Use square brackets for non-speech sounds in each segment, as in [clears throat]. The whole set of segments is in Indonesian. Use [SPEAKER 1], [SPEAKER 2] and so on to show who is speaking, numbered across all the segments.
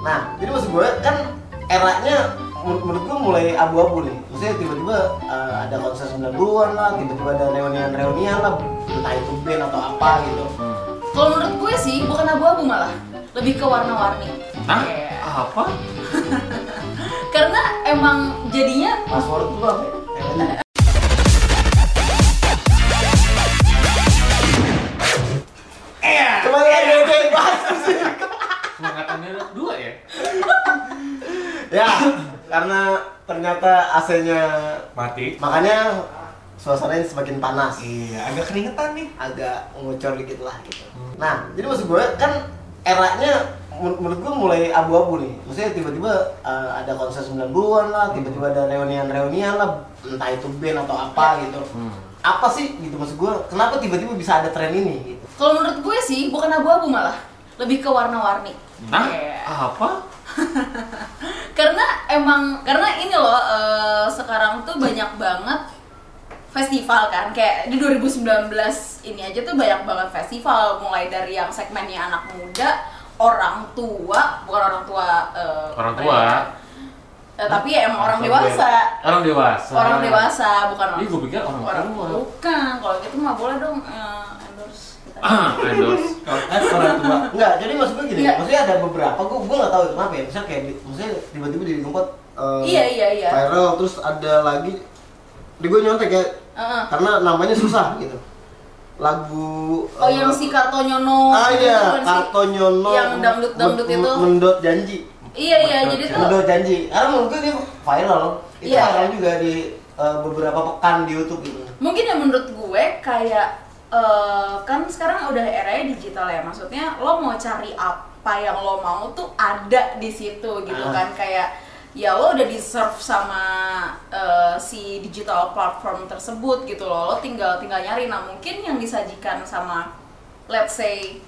[SPEAKER 1] Nah, jadi maksud gue kan eranya menur- menurut gue mulai abu-abu nih. Maksudnya tiba-tiba eh, ada konser 90-an lah, tiba-tiba ada reunian-reunian lah, entah itu band atau apa gitu.
[SPEAKER 2] Kalau menurut gue sih bukan abu-abu malah, lebih ke warna-warni.
[SPEAKER 3] Hah?
[SPEAKER 2] Iya.
[SPEAKER 3] Apa?
[SPEAKER 2] Karena emang jadinya
[SPEAKER 1] Password lu apa? ya? Eranya. Kembali lagi ke bahas sih.
[SPEAKER 3] Semangatannya ada dua ya?
[SPEAKER 1] Ya, karena ternyata AC-nya
[SPEAKER 3] Mati.
[SPEAKER 1] makanya suasananya semakin panas.
[SPEAKER 3] Iya, agak keringetan nih.
[SPEAKER 1] agak ngocor dikit lah gitu.
[SPEAKER 2] Hmm.
[SPEAKER 1] Nah, jadi maksud gue kan eranya menur- menurut gue mulai abu-abu nih. Maksudnya tiba-tiba eh, ada konser 90-an lah,
[SPEAKER 2] Hmm.
[SPEAKER 1] tiba-tiba ada reunian-reunian lah, entah itu band atau
[SPEAKER 2] Ya.
[SPEAKER 1] apa gitu.
[SPEAKER 2] Hmm.
[SPEAKER 1] Apa sih gitu maksud gue? Kenapa tiba-tiba bisa ada tren ini gitu?
[SPEAKER 2] kalau menurut gue sih bukan abu-abu malah, lebih ke warna-warni.
[SPEAKER 3] Hah?
[SPEAKER 2] Iya.
[SPEAKER 3] Apa?
[SPEAKER 2] Karena emang karena ini loh eh, sekarang tuh banyak banget festival kan kayak di 2019 ini aja tuh banyak banget festival mulai dari yang segmennya anak muda, orang tua, bukan orang tua eh,
[SPEAKER 3] Orang tua.
[SPEAKER 2] Eh, tapi ya emang orang
[SPEAKER 1] Orang
[SPEAKER 2] dewasa.
[SPEAKER 3] Orang dewasa.
[SPEAKER 2] Orang dewasa, bukan orang
[SPEAKER 3] Ini gue Ah. Iya, pikir orang tua.
[SPEAKER 2] Bukan, kalau gitu mah boleh dong eh, endorse kita.
[SPEAKER 3] Ah, endorse.
[SPEAKER 1] Kan orang tua. Enggak, jadi maksud gue gini,
[SPEAKER 2] Iya.
[SPEAKER 1] maksudnya ada beberapa gue gue nggak tahu kenapa ya. Misalnya kayak di- maksudnya tiba-tiba di tempat eh,
[SPEAKER 2] Iya, iya, iya.
[SPEAKER 1] viral terus ada lagi di gue nyontek ya
[SPEAKER 2] Heeh.
[SPEAKER 1] karena namanya susah gitu. Lagu
[SPEAKER 2] Hmm. Oh yang
[SPEAKER 1] eh,
[SPEAKER 2] si Kartonyono
[SPEAKER 1] ah
[SPEAKER 2] gitu
[SPEAKER 1] iya,
[SPEAKER 2] kan sih?
[SPEAKER 1] Kartonyono
[SPEAKER 2] Yang dangdut-dangdut
[SPEAKER 1] men-
[SPEAKER 2] itu.
[SPEAKER 1] Mendot janji
[SPEAKER 2] Iya iya
[SPEAKER 3] Oh
[SPEAKER 2] jadi tuh
[SPEAKER 1] Mendot janji Karena menurut gue dia viral Itu
[SPEAKER 2] Iya.
[SPEAKER 1] viral juga di eh, beberapa pekan di Youtube gitu
[SPEAKER 2] mungkin ya menurut gue kayak eh, kan sekarang udah era digital ya maksudnya lo mau cari apa yang lo mau tuh ada di situ gitu
[SPEAKER 1] Ah.
[SPEAKER 2] kan kayak ya lo udah di serve sama eh, si digital platform tersebut gitu loh lo tinggal tinggal nyari nah mungkin yang disajikan sama let's say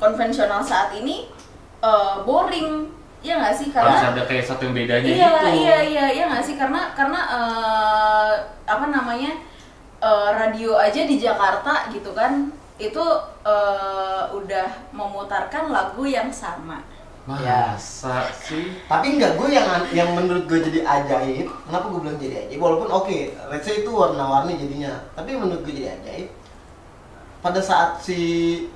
[SPEAKER 2] konvensional saat ini eh, boring ya nggak sih
[SPEAKER 3] Harus
[SPEAKER 2] karena
[SPEAKER 3] ada kayak satu yang bedanya
[SPEAKER 2] iya
[SPEAKER 3] gitu.
[SPEAKER 2] iya iya iya nggak sih karena karena eh, apa namanya eh, radio aja di Jakarta gitu kan itu eh, udah memutarkan lagu yang sama Iya.
[SPEAKER 3] Masa sih?
[SPEAKER 1] Tapi enggak, gue yang yang menurut gue jadi ajaib Kenapa gue bilang jadi ajaib? Walaupun oke, let's say itu warna-warni jadinya Tapi menurut gue jadi ajaib Pada saat si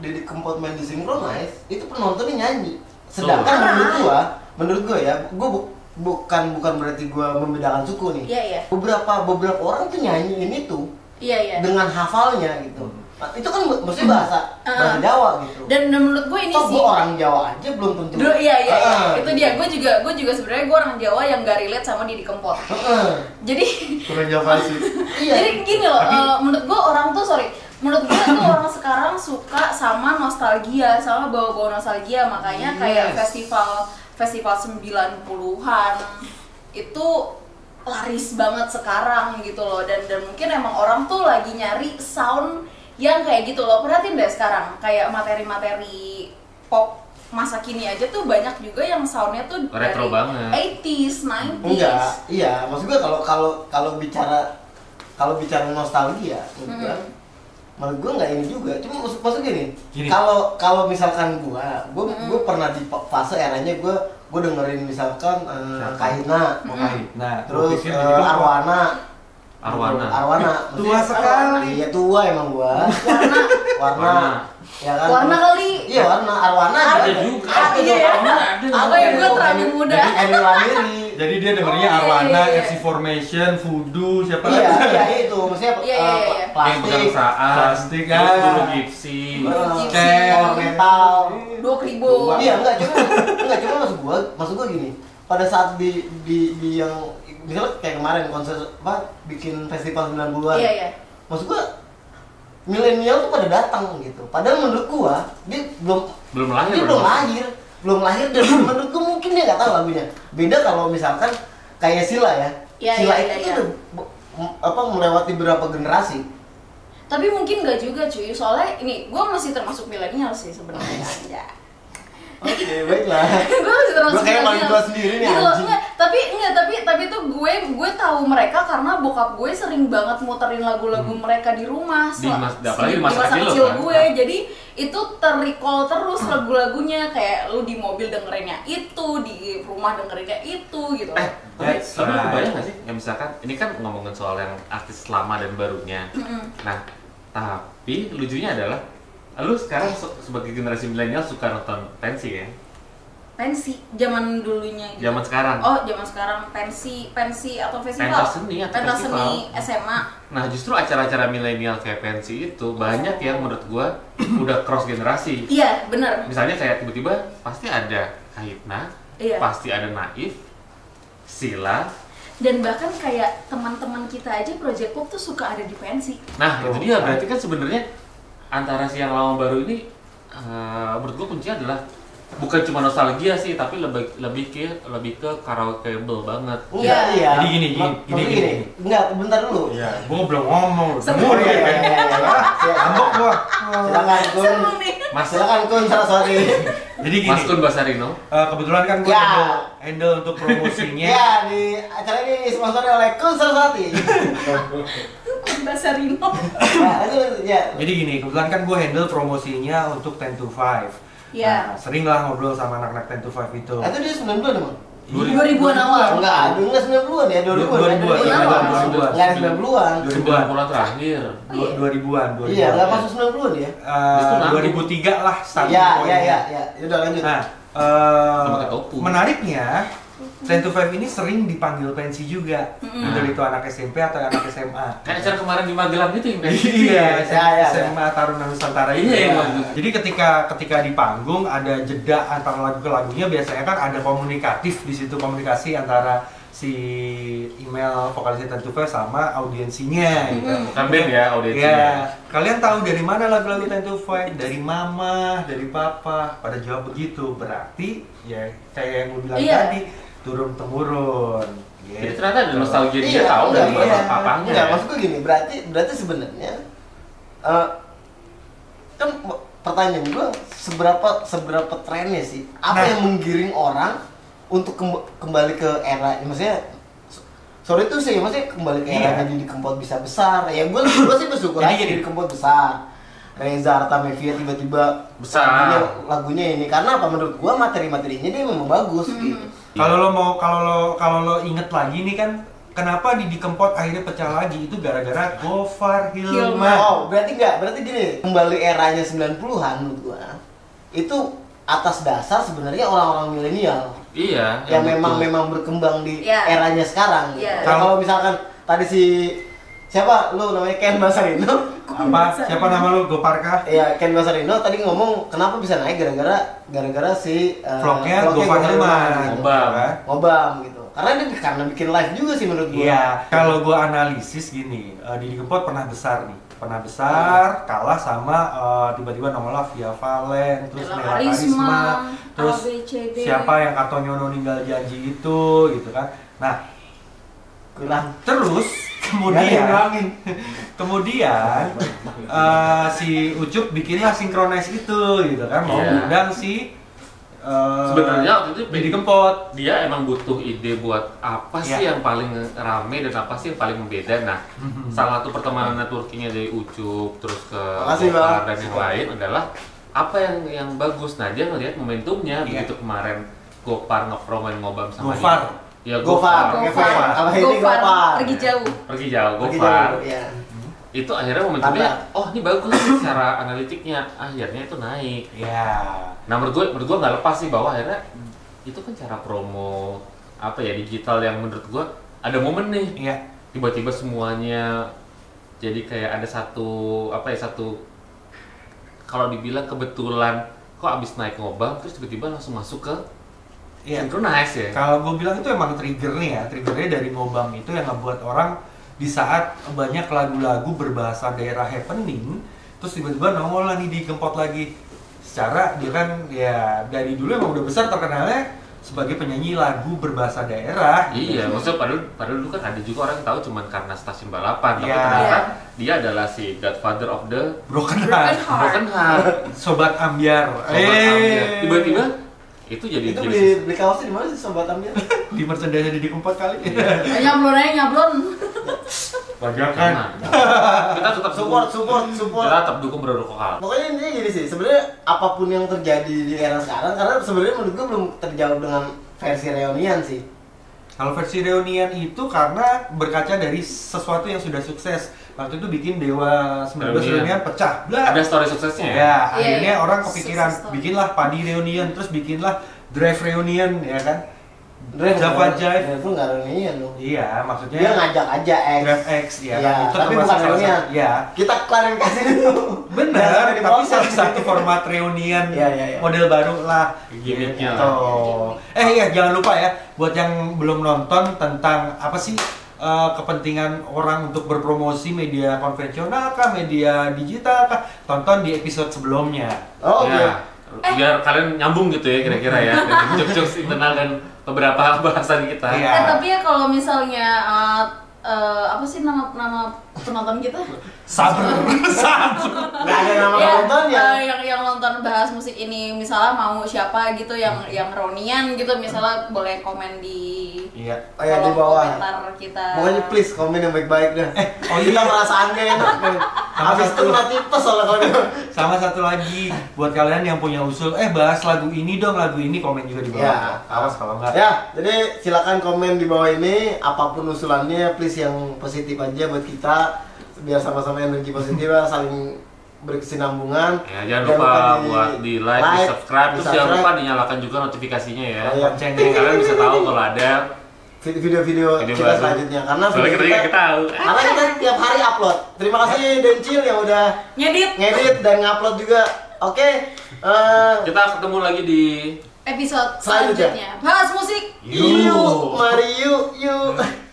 [SPEAKER 1] Deddy Kempot main di Synchronize Itu penontonnya nyanyi Sedangkan
[SPEAKER 3] Tuh.
[SPEAKER 1] menurut gue Menurut gue ya, gue bu- bukan bukan berarti gue membedakan suku nih
[SPEAKER 2] iya iya
[SPEAKER 1] beberapa beberapa orang tuh nyanyiin itu
[SPEAKER 2] iya iya
[SPEAKER 1] dengan hafalnya gitu Nah, itu kan mak- maksudnya bahasa
[SPEAKER 2] Ah.
[SPEAKER 1] bahasa Jawa gitu
[SPEAKER 2] dan, dan menurut gue ini
[SPEAKER 1] toh
[SPEAKER 2] sih
[SPEAKER 1] gue orang Jawa aja belum tentu
[SPEAKER 2] Dulu, iya iya, iya.
[SPEAKER 1] Ah.
[SPEAKER 2] itu dia gue juga gue juga sebenarnya gue orang Jawa yang gak relate sama Didi Kempot
[SPEAKER 1] Heeh.
[SPEAKER 2] jadi
[SPEAKER 1] kurang Jawa sih iya
[SPEAKER 2] Jadi gini loh, eh, menurut gue orang tuh sorry, menurut gue tuh orang sekarang suka sama nostalgia, sama bawa-bawa nostalgia, makanya kayak
[SPEAKER 3] Yes.
[SPEAKER 2] festival festival 90-an itu laris banget sekarang gitu loh dan dan mungkin emang orang tuh lagi nyari sound yang kayak gitu loh. Perhatiin deh sekarang kayak materi-materi pop masa kini aja tuh banyak juga yang soundnya tuh
[SPEAKER 3] Retro banget.
[SPEAKER 2] 80s, 90s.
[SPEAKER 1] enggak iya maksud gue kalau kalau kalau bicara kalau bicara nostalgia menurut gue
[SPEAKER 2] Mm-mm.
[SPEAKER 1] menurut gue nggak ini juga cuma maksud maksud gini
[SPEAKER 3] Gini.
[SPEAKER 1] kalau kalau misalkan gue gue gue pernah di pa- fase eranya gue gue dengerin misalkan eh,
[SPEAKER 3] Siapa?
[SPEAKER 1] Kahina
[SPEAKER 3] Makanya. Nah,
[SPEAKER 1] terus eh, Arwana
[SPEAKER 3] Arwana. [laughs]
[SPEAKER 1] Arwana
[SPEAKER 4] Tua
[SPEAKER 1] Maksudnya-
[SPEAKER 4] sekali.
[SPEAKER 1] iya tua emang gua
[SPEAKER 2] Warna
[SPEAKER 1] warna,
[SPEAKER 3] Warna.
[SPEAKER 1] ya kan
[SPEAKER 2] warna
[SPEAKER 1] terus-
[SPEAKER 2] kali.
[SPEAKER 1] iya warna Arwana
[SPEAKER 3] Ada juga.
[SPEAKER 1] ada
[SPEAKER 2] Iya.
[SPEAKER 3] Arwana ada.
[SPEAKER 2] Apa ya gue terlalu muda?
[SPEAKER 1] Jadi Emil Lamiri
[SPEAKER 4] Jadi dia dengernya
[SPEAKER 2] Oh, iya,
[SPEAKER 4] Arwana,
[SPEAKER 2] iya, iya.
[SPEAKER 4] FC Formation, Voodoo, siapa
[SPEAKER 1] iya
[SPEAKER 4] lagi?
[SPEAKER 1] iya itu maksudnya
[SPEAKER 2] Iya,
[SPEAKER 1] eh,
[SPEAKER 2] iya, iya.
[SPEAKER 3] Yang pegang
[SPEAKER 1] plastik
[SPEAKER 3] saat,
[SPEAKER 4] Plastik,
[SPEAKER 3] terus
[SPEAKER 4] ah.
[SPEAKER 3] dulu gipsi.
[SPEAKER 2] Gipsi.
[SPEAKER 4] Cek.
[SPEAKER 1] power metal
[SPEAKER 2] dua ribu
[SPEAKER 1] iya enggak cuma enggak cuma maksud gua maksud gua gini pada saat di di, di yang misalnya kayak kemarin konser apa bikin festival 90-an
[SPEAKER 2] iya iya
[SPEAKER 1] maksud gua milenial tuh pada datang gitu padahal menurut gua dia belum
[SPEAKER 3] Belum lahir.
[SPEAKER 1] dia belum lahir belum lahir dan [clears throat] menurut gua mungkin dia nggak tahu lagunya beda kalau misalkan kayak Sila ya,
[SPEAKER 2] Iya,
[SPEAKER 1] Sila
[SPEAKER 2] iya,
[SPEAKER 1] itu
[SPEAKER 2] iya,
[SPEAKER 1] tuh be- m- apa melewati berapa generasi
[SPEAKER 2] tapi mungkin gak juga cuy soalnya ini gue masih termasuk milenial sih sebenarnya Anjay.
[SPEAKER 1] oke baiklah
[SPEAKER 2] [laughs] gue masih termasuk
[SPEAKER 1] Gua kayak paling
[SPEAKER 2] milenial.
[SPEAKER 1] tua sendiri nih,
[SPEAKER 2] Gitu loh,
[SPEAKER 1] anjing.
[SPEAKER 2] enggak, tapi enggak tapi tapi tapi tuh gue gue tahu mereka karena bokap gue sering banget muterin lagu-lagu mereka di rumah
[SPEAKER 3] Hmm. Di
[SPEAKER 2] sel-
[SPEAKER 3] mas-
[SPEAKER 2] di
[SPEAKER 3] apalagi di masa kecil lo, kan?
[SPEAKER 2] gue
[SPEAKER 3] Nah.
[SPEAKER 2] jadi itu terrecall terus lagu-lagunya kayak lu di mobil dengerinnya itu di rumah dengerinnya itu gitu
[SPEAKER 3] Eh, tapi,
[SPEAKER 4] That's
[SPEAKER 3] tapi lu
[SPEAKER 4] right.
[SPEAKER 3] kebayang gak sih? Ya misalkan, ini kan ngomongin soal yang artis lama dan barunya Nah, tapi lucunya adalah Lu sekarang se- sebagai generasi milenial suka nonton pensi ya?
[SPEAKER 2] pensi zaman dulunya gitu.
[SPEAKER 3] Zaman sekarang
[SPEAKER 2] oh zaman sekarang pensi pensi atau festival
[SPEAKER 3] Pentas seni atau
[SPEAKER 2] pentas
[SPEAKER 3] festival.
[SPEAKER 2] seni SMA
[SPEAKER 3] Nah justru acara-acara milenial kayak pensi itu banyak yang menurut gua [clears throat] udah cross generasi
[SPEAKER 2] iya benar
[SPEAKER 3] Misalnya kayak tiba-tiba pasti ada Kahitna,
[SPEAKER 2] Iya.
[SPEAKER 3] pasti ada Naif, Sila,
[SPEAKER 2] dan bahkan kayak teman-teman kita aja Project Pop tuh suka ada di pensi
[SPEAKER 3] Nah,
[SPEAKER 4] Tuh,
[SPEAKER 3] itu dia
[SPEAKER 4] kan.
[SPEAKER 3] berarti kan sebenarnya antara si yang lama baru ini eh, menurut gua kuncinya adalah bukan cuma nostalgia sih, tapi lebih lebih ke lebih ke karaokeable banget.
[SPEAKER 1] Enggak,
[SPEAKER 2] Iya.
[SPEAKER 1] iya.
[SPEAKER 4] Jadi gini, gini,
[SPEAKER 1] Ma-
[SPEAKER 4] gini,
[SPEAKER 1] tapi
[SPEAKER 4] gini.
[SPEAKER 1] Enggak, bentar dulu.
[SPEAKER 4] Iya, gua belum ngomong.
[SPEAKER 2] Semua
[SPEAKER 4] Semua
[SPEAKER 1] Iya, iya,
[SPEAKER 4] ya.
[SPEAKER 1] iya, iya.
[SPEAKER 4] Ambok gua.
[SPEAKER 1] Silakan kun. Nah,
[SPEAKER 2] seru nih
[SPEAKER 3] Mas
[SPEAKER 1] Silakan kun Saraswati.
[SPEAKER 4] Jadi gini.
[SPEAKER 3] Mas Kun Basarino.
[SPEAKER 4] eh, kebetulan kan gua
[SPEAKER 1] Ya.
[SPEAKER 4] handle, handle untuk promosinya.
[SPEAKER 1] [laughs] Ya, di acara ini disponsori oleh Kun Saraswati.
[SPEAKER 2] bahasa Rino
[SPEAKER 3] Ah,
[SPEAKER 1] Nah, lanjut ya.
[SPEAKER 4] Jadi gini, kebetulan kan gua handle promosinya untuk 10 to 5.
[SPEAKER 2] Iya.
[SPEAKER 4] Nah, sering lah ngobrol sama anak-anak 10 to 5 itu.
[SPEAKER 1] Nah, Itu dia 92 emang.
[SPEAKER 2] dua ribuan awal
[SPEAKER 1] Enggak, enggak 90-an ya, 2000-an.
[SPEAKER 4] 2000-an,
[SPEAKER 1] Iya,
[SPEAKER 2] iya,
[SPEAKER 1] Enggak
[SPEAKER 4] 2000-an.
[SPEAKER 1] ada 90-an.
[SPEAKER 3] 90 bulan terakhir.
[SPEAKER 2] Oh, iya.
[SPEAKER 4] 2000-an, 2000-an.
[SPEAKER 1] Iya, enggak masuk 90-an ya.
[SPEAKER 4] Eh, 2003 lah starting
[SPEAKER 1] Iya, iya,
[SPEAKER 4] point-nya.
[SPEAKER 1] iya, iya. Ya udah lanjut.
[SPEAKER 4] Nah, eh,
[SPEAKER 3] Sama kayak topu.
[SPEAKER 4] menariknya, 10 to 5 ini sering dipanggil pensi juga.
[SPEAKER 2] Mm-mm.
[SPEAKER 4] Entah itu anak SMP atau anak SMA.
[SPEAKER 3] Kayak acara kemarin di Magelang gitu yang kayak gitu.
[SPEAKER 4] Iya,
[SPEAKER 1] Iya, iya,
[SPEAKER 4] SMA Taruna Nusantara
[SPEAKER 3] Iya,
[SPEAKER 4] itu.
[SPEAKER 3] iya.
[SPEAKER 4] Jadi ketika ketika di panggung ada jeda antara lagu ke lagunya biasanya kan ada komunikatif di situ komunikasi antara si email vokalisnya Tentu Five sama audiensinya gitu.
[SPEAKER 3] Bukan band ya audiensnya.
[SPEAKER 4] Iya. Kalian tahu dari mana lagu-lagu Time to Fight? Dari mama, dari papa. Pada jawab begitu. Berarti ya kayak yang lu bilang
[SPEAKER 2] Iya.
[SPEAKER 4] tadi, turun temurun.
[SPEAKER 3] Jadi ternyata ada nostalgia dia
[SPEAKER 1] Iya,
[SPEAKER 3] tahu dari
[SPEAKER 1] iya.
[SPEAKER 3] bapak papangnya.
[SPEAKER 1] Enggak,
[SPEAKER 3] ya.
[SPEAKER 1] maksud gue gini, berarti berarti sebenarnya eh kan m- pertanyaan gue seberapa seberapa trennya sih? Apa
[SPEAKER 4] Nah.
[SPEAKER 1] yang menggiring orang untuk kemb- kembali ke era maksudnya so- Sorry itu sih, maksudnya kembali ke era
[SPEAKER 4] Iya.
[SPEAKER 1] jadi kempot bisa besar. Ya gue gue sih bersyukur aja
[SPEAKER 4] Jadi gini.
[SPEAKER 1] jadi kempot besar. Reza Artamevia tiba-tiba
[SPEAKER 3] Besar.
[SPEAKER 1] lagunya, lagunya ini karena apa menurut gua materi-materinya dia memang bagus
[SPEAKER 4] Hmm.
[SPEAKER 1] gitu.
[SPEAKER 4] Kalau lo mau kalau lo kalau lo inget lagi nih kan kenapa Didi Kempot akhirnya pecah lagi itu gara-gara
[SPEAKER 1] Oh,
[SPEAKER 4] Gofar Hilman.
[SPEAKER 1] berarti enggak, berarti gini, kembali eranya 90-an menurut gua. Itu atas dasar sebenarnya orang-orang milenial
[SPEAKER 3] Iya.
[SPEAKER 1] yang memang
[SPEAKER 3] betul.
[SPEAKER 1] memang berkembang di
[SPEAKER 2] Iya.
[SPEAKER 1] eranya sekarang gitu. Nah,
[SPEAKER 2] Iya.
[SPEAKER 1] Kalau misalkan tadi si siapa lu namanya Ken Basarino?
[SPEAKER 4] Apa siapa nama lo Goparka?
[SPEAKER 1] Iya, Ken Basarino tadi ngomong kenapa bisa naik gara-gara gara-gara si eh,
[SPEAKER 4] Vlognya Gofar Hilman.
[SPEAKER 1] gitu.
[SPEAKER 3] Ngobam.
[SPEAKER 4] Kan?
[SPEAKER 1] Ngobam gitu. Karena dia karena bikin live juga sih menurut gua.
[SPEAKER 4] Iya, kalau gua analisis gini, eh, Didi Kempot pernah besar nih, pernah besar, kalah sama eh, tiba-tiba nongol lah Via Valen, terus
[SPEAKER 2] Nela
[SPEAKER 4] Nela
[SPEAKER 2] Karisma,
[SPEAKER 4] Karisma, terus
[SPEAKER 2] ABCD.
[SPEAKER 4] siapa yang Katonyono ninggal janji itu, gitu kan. Nah,
[SPEAKER 1] Kurang.
[SPEAKER 4] terus
[SPEAKER 1] Kurang,
[SPEAKER 4] kemudian
[SPEAKER 1] kurangin.
[SPEAKER 4] [laughs] kemudian eh, si Ucup bikinlah sinkronize itu, gitu kan, mau
[SPEAKER 3] Iya.
[SPEAKER 4] ngundang si eh,
[SPEAKER 3] Sebenarnya waktu itu
[SPEAKER 4] Didi Kempot.
[SPEAKER 3] dia emang butuh ide buat apa sih yang
[SPEAKER 4] Iya.
[SPEAKER 3] paling rame dan apa sih yang paling membeda.
[SPEAKER 1] [laughs]
[SPEAKER 3] Nah, salah satu pertemanan networkingnya dari Ucup terus ke
[SPEAKER 1] Makasih, Bang.
[SPEAKER 3] Gopar dan yang lain adalah apa yang yang bagus. Nah, dia ngelihat momentumnya
[SPEAKER 4] Iya.
[SPEAKER 3] begitu kemarin Gopar ngepromen ngobam sama
[SPEAKER 4] Gofar.
[SPEAKER 3] ini. Ya
[SPEAKER 1] Gofar.
[SPEAKER 3] Gofar.
[SPEAKER 1] Gofar. Apa ini
[SPEAKER 2] Gofar,
[SPEAKER 1] Gofar?
[SPEAKER 2] pergi jauh
[SPEAKER 3] Pergi jauh
[SPEAKER 1] Pergi
[SPEAKER 3] Gopar.
[SPEAKER 1] jauh, Iya.
[SPEAKER 3] Itu akhirnya momentumnya
[SPEAKER 1] Karena-
[SPEAKER 3] oh ini bagus nih secara analitiknya. Akhirnya itu naik.
[SPEAKER 4] Ya,
[SPEAKER 3] Nah menurut gue, menurut gue nggak lepas sih bahwa akhirnya itu kan cara promo apa ya digital yang menurut gue ada momen nih
[SPEAKER 4] iya.
[SPEAKER 3] tiba-tiba semuanya jadi kayak ada satu apa ya satu kalau dibilang kebetulan kok abis naik ngobam terus tiba-tiba langsung masuk ke
[SPEAKER 4] Iya.
[SPEAKER 3] synchronize ya
[SPEAKER 4] Kalau gue bilang itu emang triggernya ya, triggernya dari ngobam itu yang ngebuat orang di saat banyak lagu-lagu berbahasa daerah happening, terus tiba-tiba nongol lah nih digempot lagi. Secara dia kan ya dari dulu emang udah besar terkenalnya sebagai penyanyi lagu berbahasa daerah.
[SPEAKER 3] iya maksudnya padahal padahal dulu kan ada juga orang yang tahu cuman karena stasiun balapan tapi
[SPEAKER 4] Iya.
[SPEAKER 3] ternyata dia adalah si godfather of the Ah,
[SPEAKER 4] Broken
[SPEAKER 2] broken
[SPEAKER 4] Heart,
[SPEAKER 2] heart
[SPEAKER 3] broken heart
[SPEAKER 4] sobat ambiar. Eh.
[SPEAKER 3] Sobat Amir. Tiba-tiba itu jadi
[SPEAKER 1] itu
[SPEAKER 3] jadi
[SPEAKER 1] beli
[SPEAKER 3] sis-
[SPEAKER 1] beli kaosnya di mana sih sobat ambil
[SPEAKER 4] di merchandise di Dikempot kali
[SPEAKER 2] Eh, nyablon aja nyablon
[SPEAKER 4] bajakan [laughs]
[SPEAKER 3] Jangan. kita tetap support
[SPEAKER 1] support support support
[SPEAKER 3] kita tetap dukung produk lokal
[SPEAKER 1] pokoknya intinya gini sih sebenarnya apapun yang terjadi di era sekarang karena sebenarnya menurut gue belum terjawab dengan versi reunian sih
[SPEAKER 4] Kalau versi reunian itu karena berkaca dari sesuatu yang sudah sukses. Waktu itu bikin Dewa 19 reunian,
[SPEAKER 3] Reunian.
[SPEAKER 4] pecah. Blah.
[SPEAKER 3] ada story suksesnya
[SPEAKER 4] Ya,
[SPEAKER 3] ya
[SPEAKER 2] Iya,
[SPEAKER 4] akhirnya
[SPEAKER 2] iya.
[SPEAKER 4] orang kepikiran
[SPEAKER 2] Sukses story.
[SPEAKER 4] bikinlah Padi reunion, terus bikinlah Drive reunion ya kan.
[SPEAKER 1] Drive
[SPEAKER 4] Java
[SPEAKER 1] nggak-
[SPEAKER 4] Jive.
[SPEAKER 1] Drive nggak reunian loh
[SPEAKER 4] Iya, maksudnya
[SPEAKER 1] dia ngajak aja X
[SPEAKER 4] Drive X ya.
[SPEAKER 1] Iya,
[SPEAKER 4] kan.
[SPEAKER 1] tapi
[SPEAKER 4] termasuk
[SPEAKER 1] bukan
[SPEAKER 4] salah
[SPEAKER 1] reunian
[SPEAKER 4] satu- Iya.
[SPEAKER 1] kita
[SPEAKER 4] [laughs]
[SPEAKER 1] klarifikasi dulu Jangan
[SPEAKER 4] Benar,
[SPEAKER 1] sampai
[SPEAKER 4] tapi
[SPEAKER 1] dipotong.
[SPEAKER 4] salah satu format reunian
[SPEAKER 1] Iya, iya, iya.
[SPEAKER 4] model baru lah.
[SPEAKER 3] Gimiknya.
[SPEAKER 4] Gitu. Eh iya jangan lupa ya buat yang belum nonton tentang apa sih eh, kepentingan orang untuk berpromosi media konvensional kah, media digital kah, tonton di episode sebelumnya.
[SPEAKER 1] oh, oke
[SPEAKER 3] Ya, biar kalian nyambung gitu ya kira-kira ya dari jokes-jokes internal dan beberapa [laughs] bahasan kita
[SPEAKER 4] Iya.
[SPEAKER 2] Eh tapi ya kalau misalnya eh, eh, apa sih nama nama penonton kita?
[SPEAKER 4] Sabar, [laughs] sabar.
[SPEAKER 1] nggak ada nama
[SPEAKER 2] Ya,
[SPEAKER 1] penontonnya
[SPEAKER 2] eh, yang yang nonton bahas musik ini misalnya mau siapa gitu yang
[SPEAKER 1] Hmm.
[SPEAKER 2] yang Ronian gitu misalnya boleh komen di
[SPEAKER 4] Iya.
[SPEAKER 1] oh ya di
[SPEAKER 2] kolom
[SPEAKER 1] bawah
[SPEAKER 2] komentar kita.
[SPEAKER 1] pokoknya please komen yang baik-baik dah eh
[SPEAKER 4] oh
[SPEAKER 1] oh
[SPEAKER 4] iya.
[SPEAKER 1] kita merasa aneh enak deh.
[SPEAKER 4] Sama
[SPEAKER 1] habis itu
[SPEAKER 4] satu.
[SPEAKER 1] kena tipes soalnya kalau dia-
[SPEAKER 4] Sama satu lagi buat kalian yang punya usul, eh bahas lagu ini dong, lagu ini komen juga di bawah.
[SPEAKER 1] Iya.
[SPEAKER 4] Awas kalau enggak.
[SPEAKER 1] Ya, jadi silakan komen di bawah ini apapun usulannya, please yang positif aja buat kita biar sama-sama energi positif
[SPEAKER 3] [laughs]
[SPEAKER 1] lah, saling berkesinambungan.
[SPEAKER 3] Ya, jangan lupa buat di like, di subscribe, terus jangan lupa
[SPEAKER 1] di
[SPEAKER 3] dinyalakan juga notifikasinya ya.
[SPEAKER 1] Oh, iya.
[SPEAKER 3] Jadi kalian bisa tahu kalau ada
[SPEAKER 1] subscribe. video-video
[SPEAKER 3] video
[SPEAKER 1] kita
[SPEAKER 3] baru.
[SPEAKER 1] selanjutnya karena
[SPEAKER 3] Soalnya
[SPEAKER 1] video
[SPEAKER 3] kita juga nggak tahu. Ya.
[SPEAKER 1] karena kita tiap hari upload. Terima kasih Dencil yang udah
[SPEAKER 2] Nyedit
[SPEAKER 1] ngedit dan ngupload juga. Oke. eh,
[SPEAKER 3] Kita ketemu lagi di
[SPEAKER 2] episode
[SPEAKER 1] Selanjutnya.
[SPEAKER 2] selanjutnya. Bahas musik.
[SPEAKER 3] [laughs]
[SPEAKER 1] yuk, mari yuk, yuk.